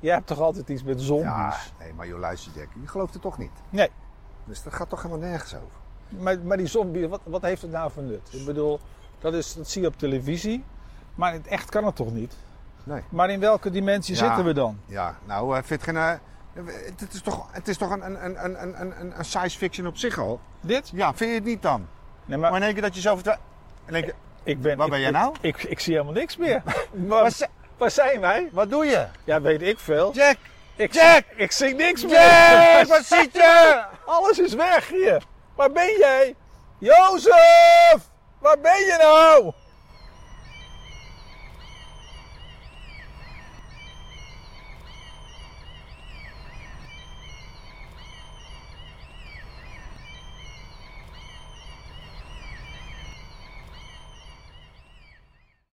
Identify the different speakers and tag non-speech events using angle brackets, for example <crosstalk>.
Speaker 1: Jij hebt toch altijd iets met zombies?
Speaker 2: Ja, Dus, nee, maar joh, luister Jack, je gelooft het toch niet?
Speaker 1: Nee.
Speaker 2: Dus dat gaat toch helemaal nergens over?
Speaker 1: Maar, maar die zombie, wat, wat heeft het nou voor nut? Ik bedoel, dat, is, dat zie je op televisie. Maar in het echt kan het toch niet?
Speaker 2: Nee.
Speaker 1: Maar in welke dimensie
Speaker 2: Ja.
Speaker 1: zitten we dan?
Speaker 2: Ja, nou, eh, vind je geen... eh, het is toch, het is toch een, een, een- een, een, een, een science fiction op zich al?
Speaker 1: Dit?
Speaker 2: Ja, vind je het niet dan?
Speaker 1: Nee,
Speaker 2: Maar in één keer dat je zo vertrouwt... In één keer,
Speaker 1: ik ben,
Speaker 2: Waar
Speaker 1: ik-
Speaker 2: ben jij
Speaker 1: ik-
Speaker 2: nou?
Speaker 1: Ik, ik, zie helemaal niks meer.
Speaker 2: Waar
Speaker 1: <laughs> waar,
Speaker 2: zi-
Speaker 1: waar zijn wij?
Speaker 2: wat doe je?
Speaker 1: Ja, weet ik veel.
Speaker 2: Jack!
Speaker 1: ik,
Speaker 2: Jack!
Speaker 1: Ik zie niks
Speaker 2: Jack!
Speaker 1: meer.
Speaker 2: Wat zit je?
Speaker 1: <laughs> Alles is weg hier. Waar ben jij? Jozef! Waar ben je nou?